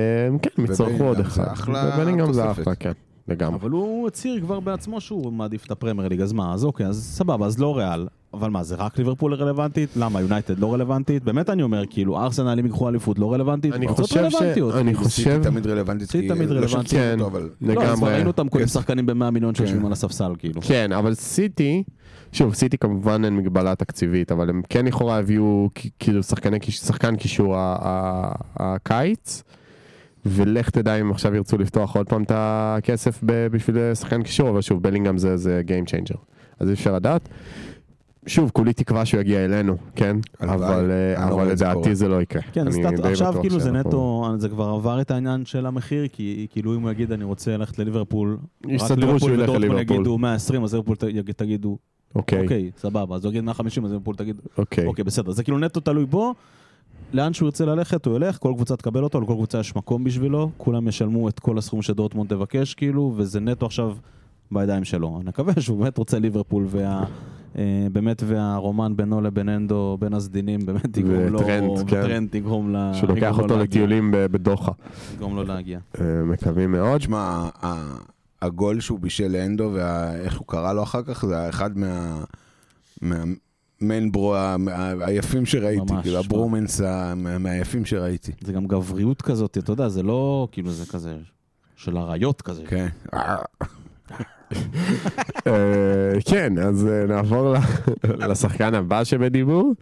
Speaker 1: כן, הם יצטרכו עוד
Speaker 3: ובלינגהם זה
Speaker 1: אחד.
Speaker 3: אחלה
Speaker 1: ובלינגהם זה
Speaker 3: תוספת.
Speaker 1: אחלה, כן, לגמרי.
Speaker 2: אבל הוא הצהיר כבר בעצמו שהוא מעדיף את הפרמייר ליג, אז מה, אז אוקיי, אז סבבה, אז לא ריאל. אבל מה, זה רק ליברפול רלוונטית? למה, יונייטד לא רלוונטית? באמת אני אומר, כאילו, ארסנל אם ייקחו אליפות לא רלוונטית?
Speaker 1: אני
Speaker 2: קבוצות
Speaker 1: חושב ש-
Speaker 2: רלוונטיות.
Speaker 1: אני
Speaker 2: כאילו.
Speaker 1: חושב-
Speaker 3: סיטי תמיד רלוונטית,
Speaker 2: סיטי
Speaker 3: כי
Speaker 2: תמיד
Speaker 3: לא
Speaker 2: רלוונטית.
Speaker 3: שולחים
Speaker 1: כן.
Speaker 3: אותו, אבל...
Speaker 2: לא, אז כבר
Speaker 1: לגמרי.
Speaker 2: ראינו אותם כל
Speaker 3: כן.
Speaker 2: עם שחקנים ב-100 מיליון שיושבים
Speaker 3: כן.
Speaker 2: על הספסל, כאילו.
Speaker 1: כן, אבל סיטי, שוב, סיטי כמובן אין מגבלה תקציבית, אבל הם כן לכאורה הביאו כ- כאילו שחקני, קיש- שחקן קישור ה- ה- הקיץ, ולך תדע אם עכשיו ירצו לפתוח עוד פעם את הכסף ב- בשביל שחקן קישור, אבל שוב, בלינגהם זה, זה Game Changer, אז אי אפשר לדעת. שוב, כולי תקווה שהוא יגיע אלינו, כן?
Speaker 3: הלוואי.
Speaker 1: אבל, אה,
Speaker 3: אני לא רואה
Speaker 1: אבל
Speaker 3: את זה קורה.
Speaker 1: לדעתי זה לא יקרה.
Speaker 2: כן,
Speaker 1: אני
Speaker 2: סטאט,
Speaker 1: די
Speaker 2: עכשיו
Speaker 1: בטוח נכון.
Speaker 2: כאילו זה
Speaker 1: שאנחנו-
Speaker 2: נטו, זה כבר עבר את העניין של המחיר, כי כאילו אם הוא יגיד אני רוצה ללכת לליברפול, רק
Speaker 1: יסתדרו שהוא
Speaker 2: ליברפול
Speaker 1: ילך
Speaker 2: ודורטמונד
Speaker 1: לליברפול.
Speaker 2: יגידו 120, אז ליברפול ת- יגיד- תגידו,
Speaker 1: אוקיי,
Speaker 2: אוקיי, סבבה, אז הוא יגיד 150, אז ליברפול תגיד,
Speaker 1: אוקיי.
Speaker 2: אוקיי, בסדר. זה כאילו נטו תלוי בו. לאן שהוא ירצה ללכת, הוא ילך, כל קבוצה תקבל אותו, לכל קבוצה יש מקום בשבילו, כולם ישלמו את כל הסכום שדורטמונד תבקש, כאילו, וזה נטו עכשיו בידיים שלו. אני מקווה שהוא באמת רוצה ליברפול וה... אה, באמת, והרומן בינו לבין אנדו, בין הסדינים, באמת יגרום לו...
Speaker 1: וטרנד, כן.
Speaker 2: וטרנד יגרום ל...
Speaker 1: שהוא לוקח
Speaker 2: יגרום לו
Speaker 1: אותו
Speaker 2: להגיע.
Speaker 1: לטיולים ב- בדוחה.
Speaker 2: יגרום לו להגיע.
Speaker 1: אה, מקווים מאוד.
Speaker 3: תשמע, ה- ה- הגול שהוא בישל לאנדו ואיך הוא קרא לו אחר כך, זה היה אחד מה... מהמנברו ה- ה- היפים שראיתי,
Speaker 2: ממש,
Speaker 3: כאילו
Speaker 2: שמע.
Speaker 3: הברומנס ה- מה- מהיפים שראיתי.
Speaker 2: זה גם גבריות כזאת, אתה יודע, זה לא כאילו זה כזה של אריות כזה.
Speaker 3: כן. אה,
Speaker 1: אה, כן, אז אה, נעבור ל- לשחקן הבא שבדיבור.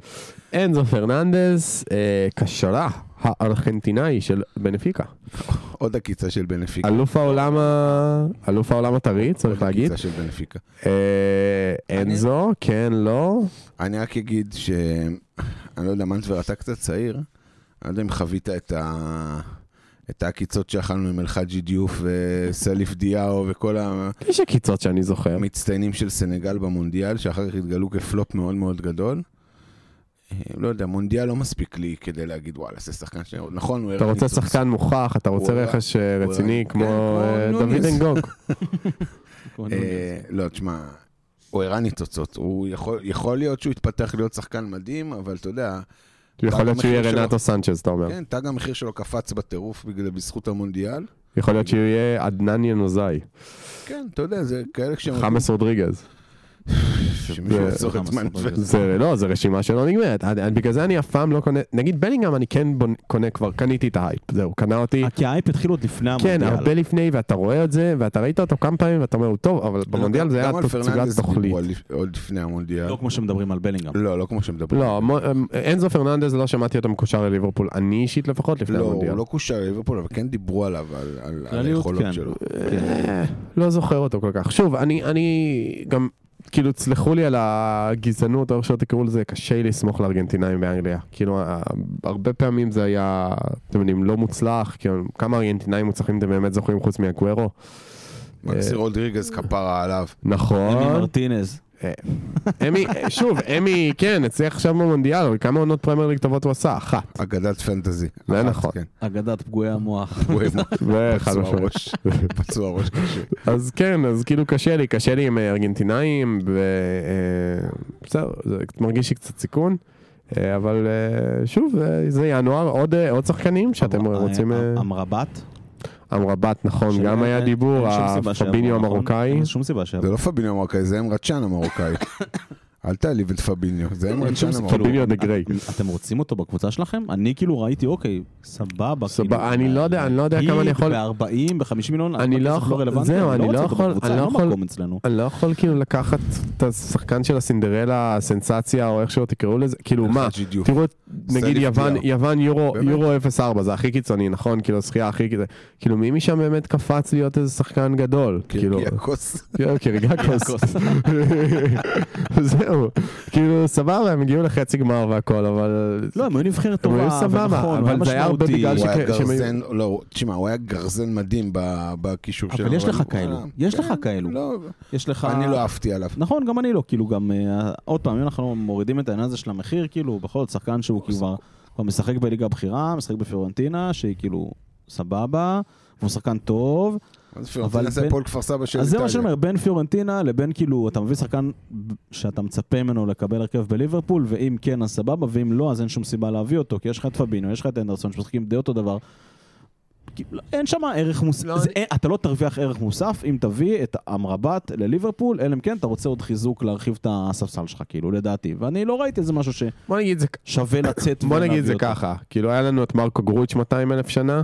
Speaker 1: אנזו פרננדס, אה, קשרה הארגנטינאי של בנפיקה.
Speaker 3: עוד עקיצה של בנפיקה.
Speaker 1: אלוף העולם ה- אלוף העולם הטרי, לא צריך
Speaker 3: עוד
Speaker 1: להגיד.
Speaker 3: עקיצה של בנפיקה.
Speaker 1: אה, אנזו, כן, לא.
Speaker 3: אני רק אגיד ש... אני לא יודע, מנטבר, אתה קצת צעיר, אני לא יודע אם חווית את ה... את העקיצות שאכלנו עם אלחאג'י דיוף וסליף דיאו וכל
Speaker 1: יש עקיצות שאני זוכר.
Speaker 3: המצטיינים של סנגל במונדיאל, שאחר כך התגלו כפלופ מאוד מאוד גדול. אה, לא יודע, מונדיאל לא מספיק לי כדי להגיד, וואלה, זה שחקן ש... נכון, הוא
Speaker 1: אתה
Speaker 3: הראה
Speaker 1: רוצה
Speaker 3: ניצוץ."
Speaker 1: שחקן מוכח, אתה רוצה
Speaker 3: הוא הראה-
Speaker 1: רכש אה,
Speaker 3: הוא
Speaker 1: רציני
Speaker 3: הראה-
Speaker 1: כמו
Speaker 3: כן, כמו
Speaker 1: אה, דוד
Speaker 3: נוניס.
Speaker 1: אנגוג.
Speaker 2: כמו
Speaker 3: אה,
Speaker 2: נוניס.
Speaker 3: לא, תשמע, הוא הראה ניצוצות. הוא יכול- יכול להיות שהוא יתפתח להיות שחקן מדהים, אבל אתה יודע,
Speaker 1: יכול להיות שהוא יהיה
Speaker 3: המחיר שלו.
Speaker 1: רנטו סנצ'ז, אתה אומר.
Speaker 3: כן, תג המחיר שלו קפץ בטירוף בגלל- בזכות המונדיאל.
Speaker 1: יכול להיות שהוא יהיה עדנן ינוזאי,
Speaker 3: כן, אתה יודע, זה כאלה כשהם...
Speaker 1: חמאס אה, רודריגז.
Speaker 3: שמישהו
Speaker 1: זה-
Speaker 3: יעצור את
Speaker 2: חמאס
Speaker 3: זמן.
Speaker 2: סבבה.
Speaker 1: זה לא, זה רשימה שלא נגמרת. אני- אני- בגלל זה אני אף פעם לא קונה, נגיד בלינגהם אני כן בונ- קונה כבר, קניתי את ההייפ, זהו, קנה אותי.
Speaker 2: אה, כי האייפ התחיל עוד לפני המונדיאל.
Speaker 1: כן, הרבה לפני, ואתה רואה את זה, ואתה ראית אותו כמה פעמים, ואתה אומר, הוא טוב, אבל במונדיאל זה היה
Speaker 3: לא, גם על
Speaker 1: תצוגת
Speaker 3: פרננדס
Speaker 1: תוכלית.
Speaker 3: דיברו על לפ- עוד לפני המונדיאל.
Speaker 2: לא כמו שמדברים על בלינגהם.
Speaker 3: לא, לא כמו שמדברים.
Speaker 1: לא, מו- אנזו פרננדז, לא שמעתי אותו מקושר לליברפול, אני אישית לפחות לפני
Speaker 3: לא, הוא
Speaker 1: המונדיאל.
Speaker 3: לא קושר לליברפול, אבל כן דיברו עליו, על- על על
Speaker 2: כלליות,
Speaker 3: היכולות
Speaker 2: כן.
Speaker 3: שלו.
Speaker 1: אה, לא זוכר אותו כל כך. שוב, אני, אני גם, כאילו, תסלחו לי על הגזענות, או איך שלא תקראו לזה, קשה לי לסמוך לארגנטינאים באנגליה. כאילו, ה- הרבה פעמים זה היה, אתם יודעים, לא מוצלח, כאילו, כמה ארגנטינאים מוצלחים אתם באמת זוכרים חוץ מהגוורו?
Speaker 3: מקסי רודריגז כפרה עליו.
Speaker 2: אמי
Speaker 1: נכון.
Speaker 2: מרטינז.
Speaker 1: אמי, שוב, אמי, כן, הצליח עכשיו במונדיאל, אבל כמה עונות פרמייר ליג טובות הוא עשה? אחת.
Speaker 3: אגדת פנטזי.
Speaker 1: זה
Speaker 3: אחת,
Speaker 1: נכון.
Speaker 3: כן.
Speaker 2: אגדת פגועי המוח.
Speaker 3: הוא אוהב-
Speaker 1: וחד
Speaker 3: פצוע
Speaker 1: משמעית.
Speaker 3: ראש. פצוע ראש קשה.
Speaker 1: אז כן, אז כאילו קשה לי, קשה לי עם אה, ארגנטינאים, ו... אה, בסדר, זה מרגיש לי קצת סיכון, אה, אבל אה, שוב, אה, זה ינואר, עוד, אה, עוד שחקנים שאתם
Speaker 2: אמר-
Speaker 1: רוצים... אה,
Speaker 2: אה, אמרבת.
Speaker 1: אמרבת, נכון, גם היה
Speaker 2: שאין-
Speaker 1: דיבור,
Speaker 2: אין שום סיבה שיעבור,
Speaker 1: הפביניו
Speaker 2: נכון?
Speaker 1: המרוקאי.
Speaker 2: אין שום סיבה שיעבור.
Speaker 3: זה לא פביניו המרוקאי, זה אמרצ'אן המרוקאי. אל תעליב את פביניו, זה
Speaker 1: כאילו,
Speaker 3: אמרצ'אן
Speaker 2: סיבה.
Speaker 3: המרוקאי.
Speaker 1: פביניו דה גריי.
Speaker 2: אתם רוצים אותו בקבוצה שלכם? אני כאילו ראיתי, אוקיי, סבבה.
Speaker 1: סבבה,
Speaker 2: כאילו,
Speaker 1: אני לא יודע, אני לא יודע
Speaker 2: להגיד
Speaker 1: כמה אני יכול-
Speaker 2: ב-40, ב-50 מיליון,
Speaker 1: אני לא
Speaker 2: הכסף
Speaker 1: יכול-
Speaker 2: רלוונטי,
Speaker 1: זהו, אני לא
Speaker 2: רוצה אותו
Speaker 1: יכול-
Speaker 2: בקבוצה,
Speaker 1: אני לא
Speaker 2: אין לו
Speaker 1: יכול-
Speaker 2: מקום אצלנו.
Speaker 1: אני לא יכול כאילו לקחת את השחקן של הסינדרלה, הסנסציה, או איך שלא תקראו לזה, כאילו מה,
Speaker 3: אחד שדיוק.
Speaker 1: תראו, נגיד
Speaker 3: סליף
Speaker 1: יוון,
Speaker 3: דיאר.
Speaker 1: יוון יורו,
Speaker 3: באמת?
Speaker 1: יורו 04, זה הכי קיצוני, נכון? כאילו, שחייה הכי קיצוני. כאילו, מי משם באמת קפץ להיות איזה שחקן גדול? כאילו,
Speaker 3: קיאקוס.
Speaker 1: כן, קיריגקוס. זהו, כאילו, סבבה, הם הגיעו לחצי גמר והכל, אבל...
Speaker 2: לא, הם היו נבחרת
Speaker 1: הם
Speaker 2: טובה,
Speaker 1: היו סבבה,
Speaker 2: ונכון,
Speaker 1: אבל זה היה הרבה
Speaker 2: משמעותי.
Speaker 1: בגלל
Speaker 3: הוא
Speaker 1: שכ-
Speaker 3: היה
Speaker 1: שהם היו-
Speaker 3: גרזן, לא, תשמע, הוא היה גרזן מדהים ב- בקישור שלו.
Speaker 2: אבל יש לך
Speaker 3: הוא-
Speaker 2: כאלו, כאילו.
Speaker 3: אה,
Speaker 2: יש
Speaker 3: כן,
Speaker 2: לך כאלו.
Speaker 3: לא,
Speaker 2: יש לך...
Speaker 3: אני לא אהבתי עליו.
Speaker 2: נכון, גם אני לא, כאילו גם, אה, עוד פעם, אם אנחנו מורידים את העניין הזה של המחיר, כאילו, בכל זאת, שחקן שהוא כבר כבר משחק בליגה הבכירה, משחק בפיורנטינה, שהיא כאילו סבבה, והוא שחקן טוב,
Speaker 3: אז פיורנטינה
Speaker 2: אבל
Speaker 3: זה
Speaker 2: בין-
Speaker 3: הפועל כפר סבא של
Speaker 2: אז זה מה שאני
Speaker 3: איטליה.
Speaker 2: אומר, בין פיורנטינה לבין כאילו, אתה מביא שחקן ב- שאתה מצפה ממנו לקבל הרכב בליברפול, ואם כן אז סבבה, ואם לא אז אין שום סיבה להביא אותו, כי יש לך את פבינו, יש לך את אנדרסון, שמשחקים די אותו דבר. כאילו, אין שם ערך מוסף,
Speaker 1: לא,
Speaker 2: זה- אין- אתה לא תרוויח ערך מוסף אם תביא את אמרבת לליברפול, אלא אם כן אתה רוצה עוד חיזוק להרחיב את הספסל שלך, כאילו, לדעתי. ואני לא ראיתי איזה משהו
Speaker 1: בוא נגיד זה
Speaker 2: ששווה לצאת
Speaker 1: בוא
Speaker 2: ולהביא
Speaker 1: נגיד זה
Speaker 2: אותו.
Speaker 1: ככה, כאילו היה לנו את מרקו גרוץ' 200 אלף שנה,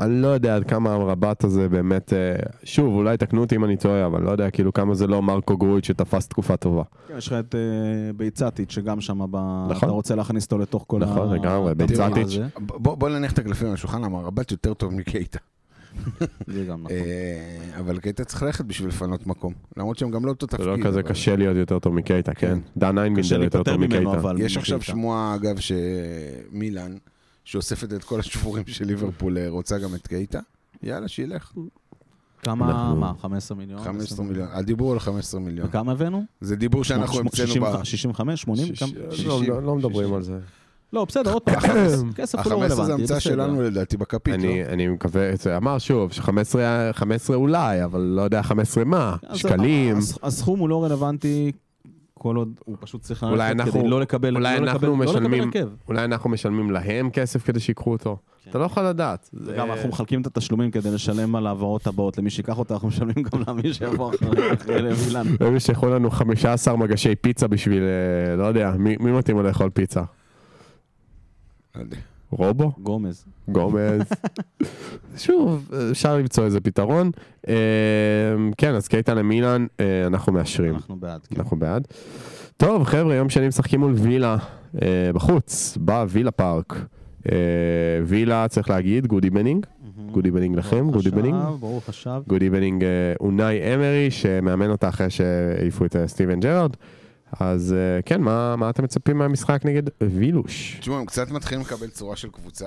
Speaker 1: אני לא יודע עד כמה המרבט הזה באמת, אה, שוב, אולי תקנו אותי אם אני טועה, אבל לא יודע כאילו כמה זה לא מרקו גרוץ' שתפס תקופה טובה.
Speaker 2: כן, יש לך את אה, ביצטיץ' שגם שם, ב-
Speaker 1: נכון.
Speaker 2: אתה רוצה להכניס אותו לתוך כל
Speaker 1: נכון, לגמרי,
Speaker 2: הדבר
Speaker 1: ביצטיץ'.
Speaker 2: הזה.
Speaker 3: ב- בוא בוא נניח את הקלפים על השולחן, המרבט יותר טוב מקייטה.
Speaker 2: זה גם נכון.
Speaker 3: אה, אבל קייטה צריך ללכת בשביל לפנות מקום. למרות שהם גם לא אותו
Speaker 1: זה
Speaker 3: תפקיד.
Speaker 1: לא כזה
Speaker 3: אבל-
Speaker 1: קשה להיות יותר טוב מקייטה, כן?
Speaker 3: כן.
Speaker 1: דן איינבינדר יותר טוב מקייטה.
Speaker 3: יש עכשיו
Speaker 2: מקייטה.
Speaker 3: שמועה, אגב, שמילאן, שאוספת את כל השבורים של ליברפול, אה, רוצה גם את קייטה. יאללה, שילך.
Speaker 2: כמה,
Speaker 1: אנחנו-
Speaker 2: מה, 15 מיליון?
Speaker 3: 15
Speaker 2: 20
Speaker 3: מיליון. הדיבור על 15 מיליון.
Speaker 2: וכמה הבאנו?
Speaker 3: זה דיבור שאנחנו
Speaker 2: שמונה-
Speaker 3: המצאנו
Speaker 2: שישים-
Speaker 3: ב...
Speaker 2: 65, 80? כמה?
Speaker 1: שיש- לא, לא- לא מדברים על זה.
Speaker 2: לא, בסדר, עוד פעם, כסף- כסף הוא לא רלוונטי.
Speaker 3: ה-15 זה המצאה
Speaker 2: בסדר.
Speaker 3: שלנו לדעתי בכפית, לא?
Speaker 1: אני אני מקווה, זה אמר שוב, ש-15 15 אולי, אבל לא יודע 15 מה,
Speaker 2: אז-
Speaker 1: שקלים.
Speaker 2: הס- הסכום הוא לא רלוונטי כל עוד הוא פשוט צריך
Speaker 1: אולי
Speaker 2: ללכת
Speaker 1: אנחנו-
Speaker 2: כדי לא לקבל,
Speaker 1: אולי
Speaker 2: לא לקבל,
Speaker 1: אנחנו
Speaker 2: לא לקבל
Speaker 1: משלמים-
Speaker 2: הרכב.
Speaker 1: אולי אנחנו משלמים להם כסף כדי שיקחו אותו. אתה לא יכול לדעת. זה-
Speaker 2: כן. וגם אנחנו מחלקים את התשלומים כדי לשלם על ההעברות הבאות. למי שיקח אותה, אנחנו משלמים גם למי שיבוא אחרי- אחרי מילאן.
Speaker 1: הם ישלחו לנו 15 מגשי פיצה בשביל, אה, לא יודע, מי מי מתאים לו לאכול פיצה?
Speaker 3: לא יודע.
Speaker 1: רובו?
Speaker 2: גומז.
Speaker 1: גומז. שוב, אפשר למצוא איזה פתרון. אה, כן, אז קייטה למילן, אה, אנחנו מאשרים.
Speaker 2: אנחנו בעד. כן.
Speaker 1: אנחנו בעד. טוב, חבר'ה, יום שני משחקים מול וילה אה, בחוץ, בווילה פארק. אה, וילה, צריך להגיד, גוד איבנינג. גוד איבנינג נכון. לכם, גוד איבנינג.
Speaker 2: חשב, ברוך השב.
Speaker 1: גוד איבנינג אה, אונאי אמרי, שמאמן אותה אחרי שהעיפו את אה, סטיבן ג'רארד. אז אה, כן, מה מה אתם מצפים מהמשחק נגד וילוש?
Speaker 3: תשמעו, הם קצת מתחילים לקבל צורה של קבוצה.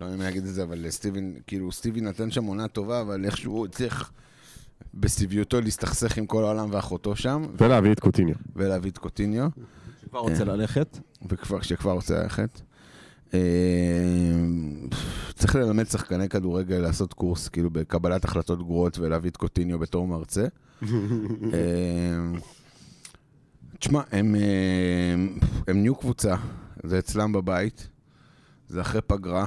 Speaker 3: לא יודע אם להגיד את זה, אבל סטיבן, כאילו, סטיבן נתן שם עונה טובה, אבל איכשהו הוא הצליח בסביבותו להסתכסך עם כל העולם ואחותו שם,
Speaker 1: ולהביא את קוטיניו.
Speaker 3: ולהביא את קוטיניו,
Speaker 2: כבר
Speaker 1: אה.
Speaker 2: רוצה ללכת.
Speaker 3: וכבר, שכבר רוצה ללכת. אה, צריך ללמד שחקני כדורגל לעשות קורס, כאילו, בקבלת החלטות גרועות ולהביא את קוטיניו בתור מרצה. אה, תשמע, הם, אה, הם נהיו קבוצה, זה אצלם בבית, זה אחרי פגרה.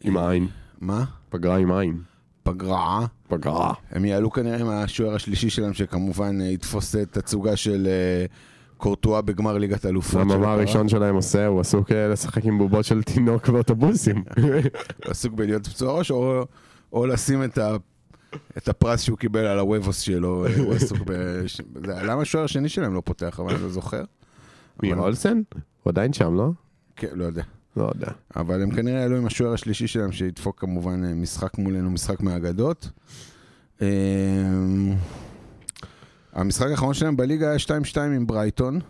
Speaker 1: עם העין.
Speaker 3: מה?
Speaker 1: פגרה עם עין.
Speaker 3: פגרה.
Speaker 1: פגרה.
Speaker 3: הם יעלו כנראה עם השוער השלישי שלהם, שכמובן אה, יתפוס את תצוגה של אה, קורטואה בגמר ליגת אלופות. של
Speaker 1: המאמר
Speaker 3: הפרה.
Speaker 1: הראשון שלהם עושה, הוא עסוק אה, לשחק עם בובות של תינוק ואוטובוסים.
Speaker 3: הוא עסוק בלהיות פצוע ראש, או, או לשים את, ה, את הפרס שהוא קיבל על הוובוס שלו, אה, הוא עסוק ב... ש- זה- למה השוער השני שלהם לא פותח, אבל אני לא זוכר.
Speaker 1: מי,
Speaker 3: אבל-
Speaker 1: אולסן? הוא עדיין שם, לא?
Speaker 3: כן, לא יודע.
Speaker 1: לא יודע.
Speaker 3: אבל הם כנראה יעלו עם השוער השלישי שלהם, שידפוק כמובן אה, משחק מולנו, משחק מהאגדות. אה, המשחק האחרון שלהם בליגה היה 2-2 עם ברייטון.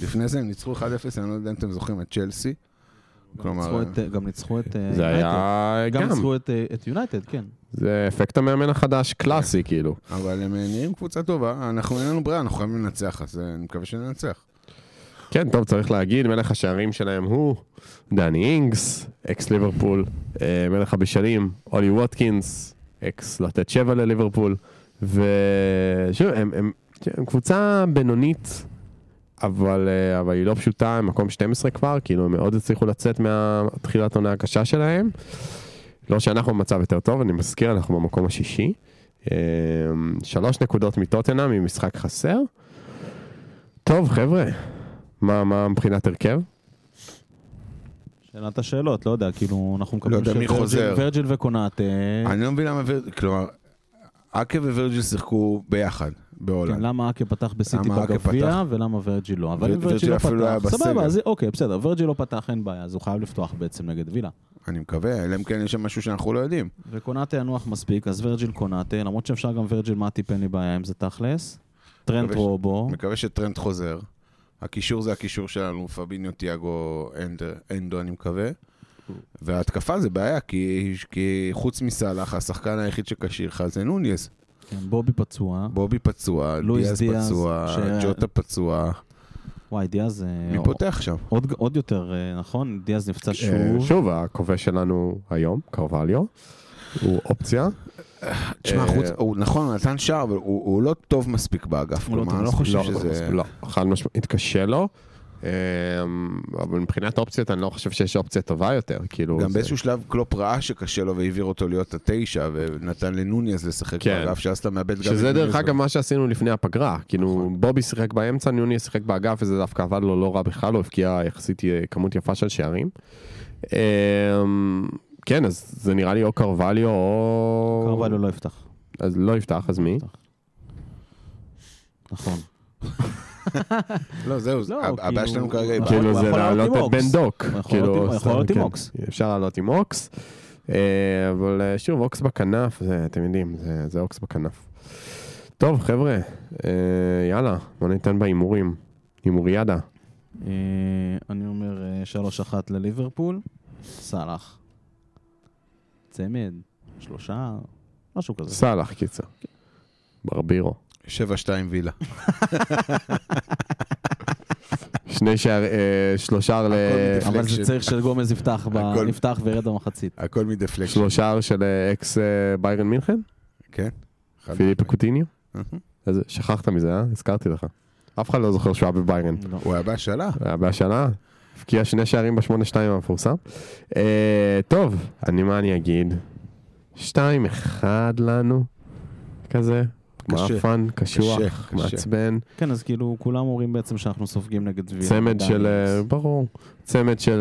Speaker 3: לפני זה הם ניצחו 1-0, אני לא יודע אם אתם זוכרים, את צ'לסי.
Speaker 2: גם
Speaker 3: כלומר,
Speaker 2: ניצחו את, אה, גם ניצחו את... אה,
Speaker 1: זה
Speaker 2: יונייטד.
Speaker 1: היה
Speaker 2: גם
Speaker 1: גם.
Speaker 2: ניצחו את, אה, את יונייטד, כן.
Speaker 1: זה אפקט המאמן החדש, קלאסי כאילו.
Speaker 3: אבל הם אה, נראים קבוצה טובה, אנחנו אין לנו ברירה, אנחנו חייבים לנצח, אז אה, אני מקווה שננצח.
Speaker 1: כן, טוב, צריך להגיד, מלך השערים שלהם הוא דני אינגס, אקס ליברפול, אה, מלך הבישלים, אולי ווטקינס, אקס לתת שבע לליברפול, ושוב, הם, הם, הם קבוצה בינונית, אבל, אה, אבל היא לא פשוטה, הם מקום 12 כבר, כאילו הם מאוד הצליחו לצאת מהתחילת עונה הקשה שלהם. לא שאנחנו במצב יותר טוב, אני מזכיר, אנחנו במקום השישי. אה, שלוש נקודות מטוטנאם ממשחק חסר. טוב, חבר'ה, מה, מה מבחינת הרכב?
Speaker 2: שאלת השאלות, לא יודע, כאילו, אנחנו מקבלים...
Speaker 3: לא יודע מי
Speaker 2: שווירג'יל-
Speaker 3: חוזר.
Speaker 2: וירג'יל וקונאט, אה,
Speaker 3: אני לא מבין למה, ויר- כלומר, אקה ווירג'יל שיחקו ביחד
Speaker 2: כן,
Speaker 3: בהולנד.
Speaker 2: למה אקה פתח בסיטי
Speaker 3: לא למה אקה
Speaker 2: בגביע,
Speaker 3: פתח?
Speaker 2: ולמה ורג'יל לא. אבל
Speaker 3: ו-
Speaker 2: אם ורג'יל
Speaker 3: ורג'יל
Speaker 2: לא
Speaker 3: אפילו לא היה
Speaker 2: פתח, סבבה,
Speaker 3: בסגל.
Speaker 2: אז אוקיי, בסדר, ורג'יל לא פתח, אין בעיה, אז הוא חייב לפתוח בעצם נגד וילה.
Speaker 3: אני מקווה, אלא אם כן יש שם משהו שאנחנו לא יודעים.
Speaker 2: אה. וקונאטה ינוח מספיק, אז ורג'יל קונאטה, למרות שאפשר גם ורג'יל מאטיפ, אין לי בעיה עם זה תכלס. טרנט
Speaker 3: מקווה ש-
Speaker 2: רובו,
Speaker 3: מקווה שטרנד חוזר. הקישור זה הקישור שלנו, פביניו, תיאגו, אנד- אנדו, אני מקווה.
Speaker 2: אה.
Speaker 3: וההתקפה זה בעיה, כי, כי חוץ מסאלח, השחקן היחיד שכשיר לך זה נוניס.
Speaker 2: כן, בובי פצוע.
Speaker 3: בובי פצוע,
Speaker 2: לואיס
Speaker 3: דיאז
Speaker 2: דיאז,
Speaker 3: פצוע,
Speaker 2: ש-
Speaker 3: ג'וטה פצוע.
Speaker 2: וואי, דיאז... אה,
Speaker 3: מי פותח שם?
Speaker 2: עוד- עוד יותר, אה, נכון? דיאז נפצע
Speaker 1: אה,
Speaker 2: שוב.
Speaker 1: שוב, הכובש שלנו היום, קרווליו, הוא אופציה.
Speaker 3: תשמע,
Speaker 1: אה,
Speaker 3: חוץ, הוא נכון, הוא נתן שער, אבל הוא, הוא לא טוב מספיק באגף.
Speaker 2: הוא לא
Speaker 3: כלומר,
Speaker 2: טוב
Speaker 3: אני לא
Speaker 2: מספיק.
Speaker 3: חושב
Speaker 1: לא,
Speaker 3: שזה...
Speaker 1: לא, חד משמעית קשה לו. אה, אבל מבחינת אופציות, אני לא חושב שיש אופציה טובה יותר, כאילו...
Speaker 3: גם
Speaker 1: זה-
Speaker 3: באיזשהו שלב קלופ ראה שקשה לו והעביר אותו להיות התשע, ונתן לנוניאז לשחק
Speaker 1: כן.
Speaker 3: באגף, שאז אתה מאבד גם נכון. את
Speaker 1: שזה דרך
Speaker 3: נוניאז.
Speaker 1: אגב מה שעשינו לפני הפגרה, כאילו בובי שיחק באמצע, ניוני שיחק באגף, וזה דווקא עבד לו לא רע בכלל, הוא הבקיע יחסית אה, כמות יפה של שערים. אה, כן, אז זה נראה לי או קרווליו או...
Speaker 2: קרווליו לא יפתח.
Speaker 1: אז לא יפתח, אז מי?
Speaker 2: נכון.
Speaker 3: לא, זהו,
Speaker 2: לא,
Speaker 3: הב- הבעיה
Speaker 2: כאילו-
Speaker 3: שלנו כרגע היא
Speaker 2: נכון.
Speaker 3: בעיה.
Speaker 1: כאילו
Speaker 2: הוא
Speaker 1: זה
Speaker 2: יכול לעלות
Speaker 1: להעלות
Speaker 2: עם
Speaker 1: את
Speaker 2: אוקס.
Speaker 1: בן דוק.
Speaker 2: הוא יכול
Speaker 1: כאילו,
Speaker 2: לעלות עם- הוא יכול לעלות עם
Speaker 1: כן.
Speaker 2: אוקס.
Speaker 1: אפשר לעלות עם אוקס. אה, אבל אה, שוב, אוקס בכנף, זה- אתם יודעים, זה- זה אוקס בכנף. טוב, חבר'ה, אה, יאללה, בוא ניתן בהימורים. הימוריאדה.
Speaker 2: אה, אני אומר אה, 3-1 לליברפול, סאלח. צמד, שלושה, משהו כזה.
Speaker 1: סאלח, קיצר. ברבירו.
Speaker 3: 7-2 וילה.
Speaker 1: שני שער, אה, שלושר ל...
Speaker 3: הכל
Speaker 2: אבל
Speaker 3: deflection.
Speaker 2: זה צריך שגומז יפתח ב-
Speaker 3: הכל-
Speaker 2: יפתח וירד במחצית.
Speaker 3: הכל מדפלקשן.
Speaker 1: שלושר של אה, אקס אה, ביירן מינכן?
Speaker 3: כן.
Speaker 1: פיליפ קוטיניו?
Speaker 3: Mhm.
Speaker 1: אז שכחת מזה, אה? הזכרתי לך. אף אחד לא זוכר שהוא היה בביירן.
Speaker 2: לא.
Speaker 3: הוא היה בהשאלה.
Speaker 1: היה בהשאלה, הבקיע שני שערים בשמונה שתיים המפורסם. אה, טוב, אני מה אני אגיד? שתיים אחד לנו, כזה.
Speaker 3: קשה.
Speaker 1: מעפן, קשוח,
Speaker 3: קשה.
Speaker 1: מעצבן.
Speaker 2: כן, אז כאילו, כולם אומרים בעצם שאנחנו סופגים נגד ויאל.
Speaker 1: צמד של, אה, ברור, צמד של...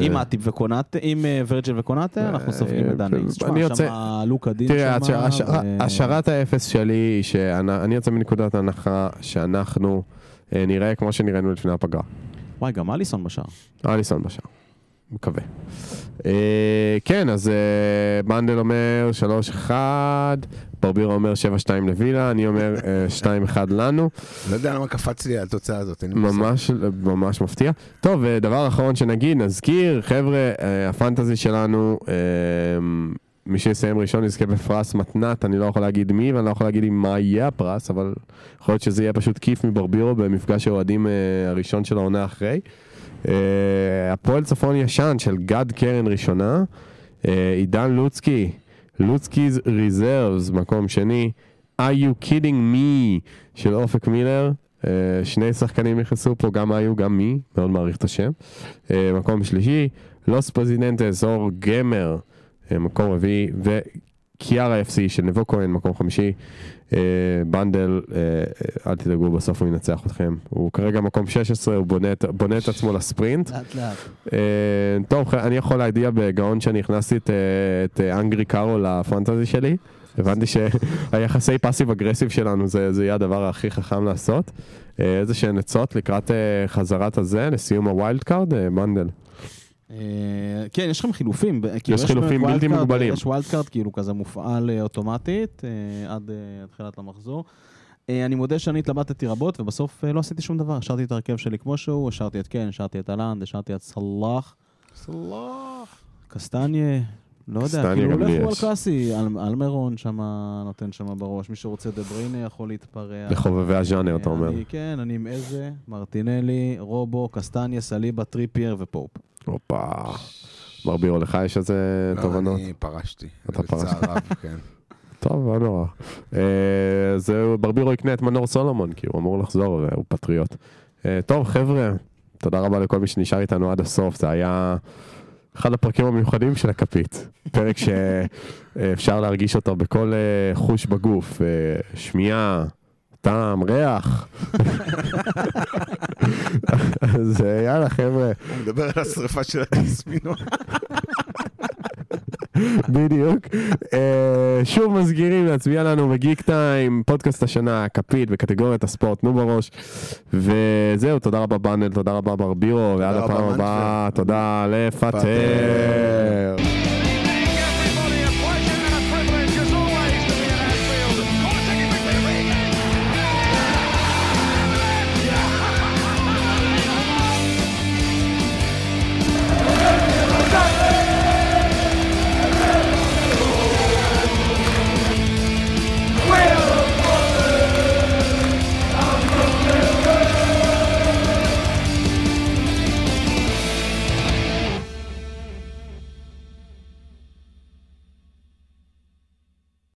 Speaker 1: אה,
Speaker 2: עם עטיב וקונאטה, עם אה, ורג'ל וקונאטה, אנחנו סופגים את דני.
Speaker 1: כן, אני
Speaker 2: תשמע,
Speaker 1: יוצא-
Speaker 2: שם לוקה דין
Speaker 1: תראה,
Speaker 2: שם.
Speaker 1: השערת הש...
Speaker 2: ו-
Speaker 1: השערת האפס שלי היא שאני יוצא מנקודת הנחה שאנחנו אה, נראה כמו שנראינו לפני הפגרה.
Speaker 2: אה, וואי, גם אליסון בשער.
Speaker 1: אליסון בשער. מקווה. אה, כן, אז אה, מנדל אומר 3-1, ברבירו אומר 7-2 לווילה, אני אומר אה, 2-1 לנו.
Speaker 3: לא יודע למה קפץ לי על התוצאה הזאת. אין לי מושג.
Speaker 1: ממש, ממש מפתיע. טוב, אה, דבר אחרון שנגיד, נזכיר, חבר'ה, אה, הפנטזי שלנו, אה, מי שיסיים ראשון יזכה בפרס מתנת, אני לא יכול להגיד מי ואני לא יכול להגיד עם מה יהיה הפרס, אבל יכול להיות שזה יהיה פשוט כיף מברבירו במפגש האוהדים אה, הראשון של העונה אחרי. אה, הפועל צפון ישן של גד קרן ראשונה, אה, עידן לוצקי, לוצקי's reserves, מקום שני, are you kidding me של אופק מילר. אה, שני שחקנים נכנסו פה, גם היו, גם מי, מאוד מעריך את השם. אה, מקום שלישי, לוס פרזידנטס אור גמר, אה, מקום רביעי, וקיארה FC של נבו כהן, מקום חמישי. אה, בנדל, אה, אה, אל תדאגו, בסוף הוא ינצח אתכם. הוא כרגע מקום 16, הוא בונה, את- בונה את עצמו לספרינט.
Speaker 2: לאט לאט.
Speaker 1: אה, טוב, אני יכול להגיע בגאון שאני הכנסתי את, אה, את אה, אנגרי קארו לפנטזי שלי. הבנתי שהיחסי פאסיב אגרסיב שלנו זה, זה יהיה הדבר הכי חכם לעשות. אה, איזה שהן עצות לקראת אה, חזרת הזה, לסיום הווילד קארד, אה, מנדל.
Speaker 2: אה, כן, יש לכם חילופים. ב- כאילו,
Speaker 1: יש חילופים
Speaker 2: באמת
Speaker 1: בלתי
Speaker 2: wild card,
Speaker 1: מוגבלים.
Speaker 2: יש ווילד קארד כאילו כזה מופעל אה, אוטומטית אה, עד אה, תחילת המחזור. אה, אני מודה שאני התלבטתי רבות, ובסוף אה, לא עשיתי שום דבר. השארתי את ההרכב שלי כמו שהוא, השארתי את קן, השארתי את אהלנד, השארתי את סלאח. קסטניה, לא יודע,
Speaker 1: קסטניה
Speaker 2: כאילו
Speaker 1: גם
Speaker 2: הולך
Speaker 1: לי
Speaker 2: הוא על
Speaker 1: יש.
Speaker 2: קלאסי, אל- אלמרון שם נותן שם בראש, מי שרוצה דה בריינה יכול להתפרע.
Speaker 1: לחובבי הז'אנר,
Speaker 2: אה,
Speaker 1: אתה אומר.
Speaker 2: אני- כן, אני עם איזה, מרטינלי, רובו, קסטניה, סליבה, טריפייר ופופ.
Speaker 1: הופה. מר בירו, לך יש איזה
Speaker 2: אה,
Speaker 3: לא,
Speaker 1: תובנות?
Speaker 3: אני פרשתי.
Speaker 1: אתה פרשת.
Speaker 3: בצער רב, כן.
Speaker 1: טוב, לא נורא. אה, זהו, ברבירו יקנה את מנור סולומון, כי הוא אמור לחזור, והוא פטריוט. אה, טוב, חבר'ה, תודה רבה לכל מי שנשאר איתנו עד הסוף, זה היה אחד הפרקים המיוחדים של הכפית. פרק שאפשר להרגיש אותו בכל אה, חוש בגוף, אה, שמיעה, טעם, ריח. אז אה, יאללה, חבר'ה,
Speaker 3: הוא מדבר על השרפה של התסמינות.
Speaker 1: בדיוק. אה, שוב מזכירים להצביע לנו בגיק טיים, פודקאסט השנה, כפית בקטגוריית הספורט, נו בראש. וזהו, תודה רבה בנדל, תודה רבה ברבירו, ועד
Speaker 3: רבה,
Speaker 1: הפעם
Speaker 3: מנפלד.
Speaker 1: הבאה, תודה לפטר.
Speaker 3: פטר.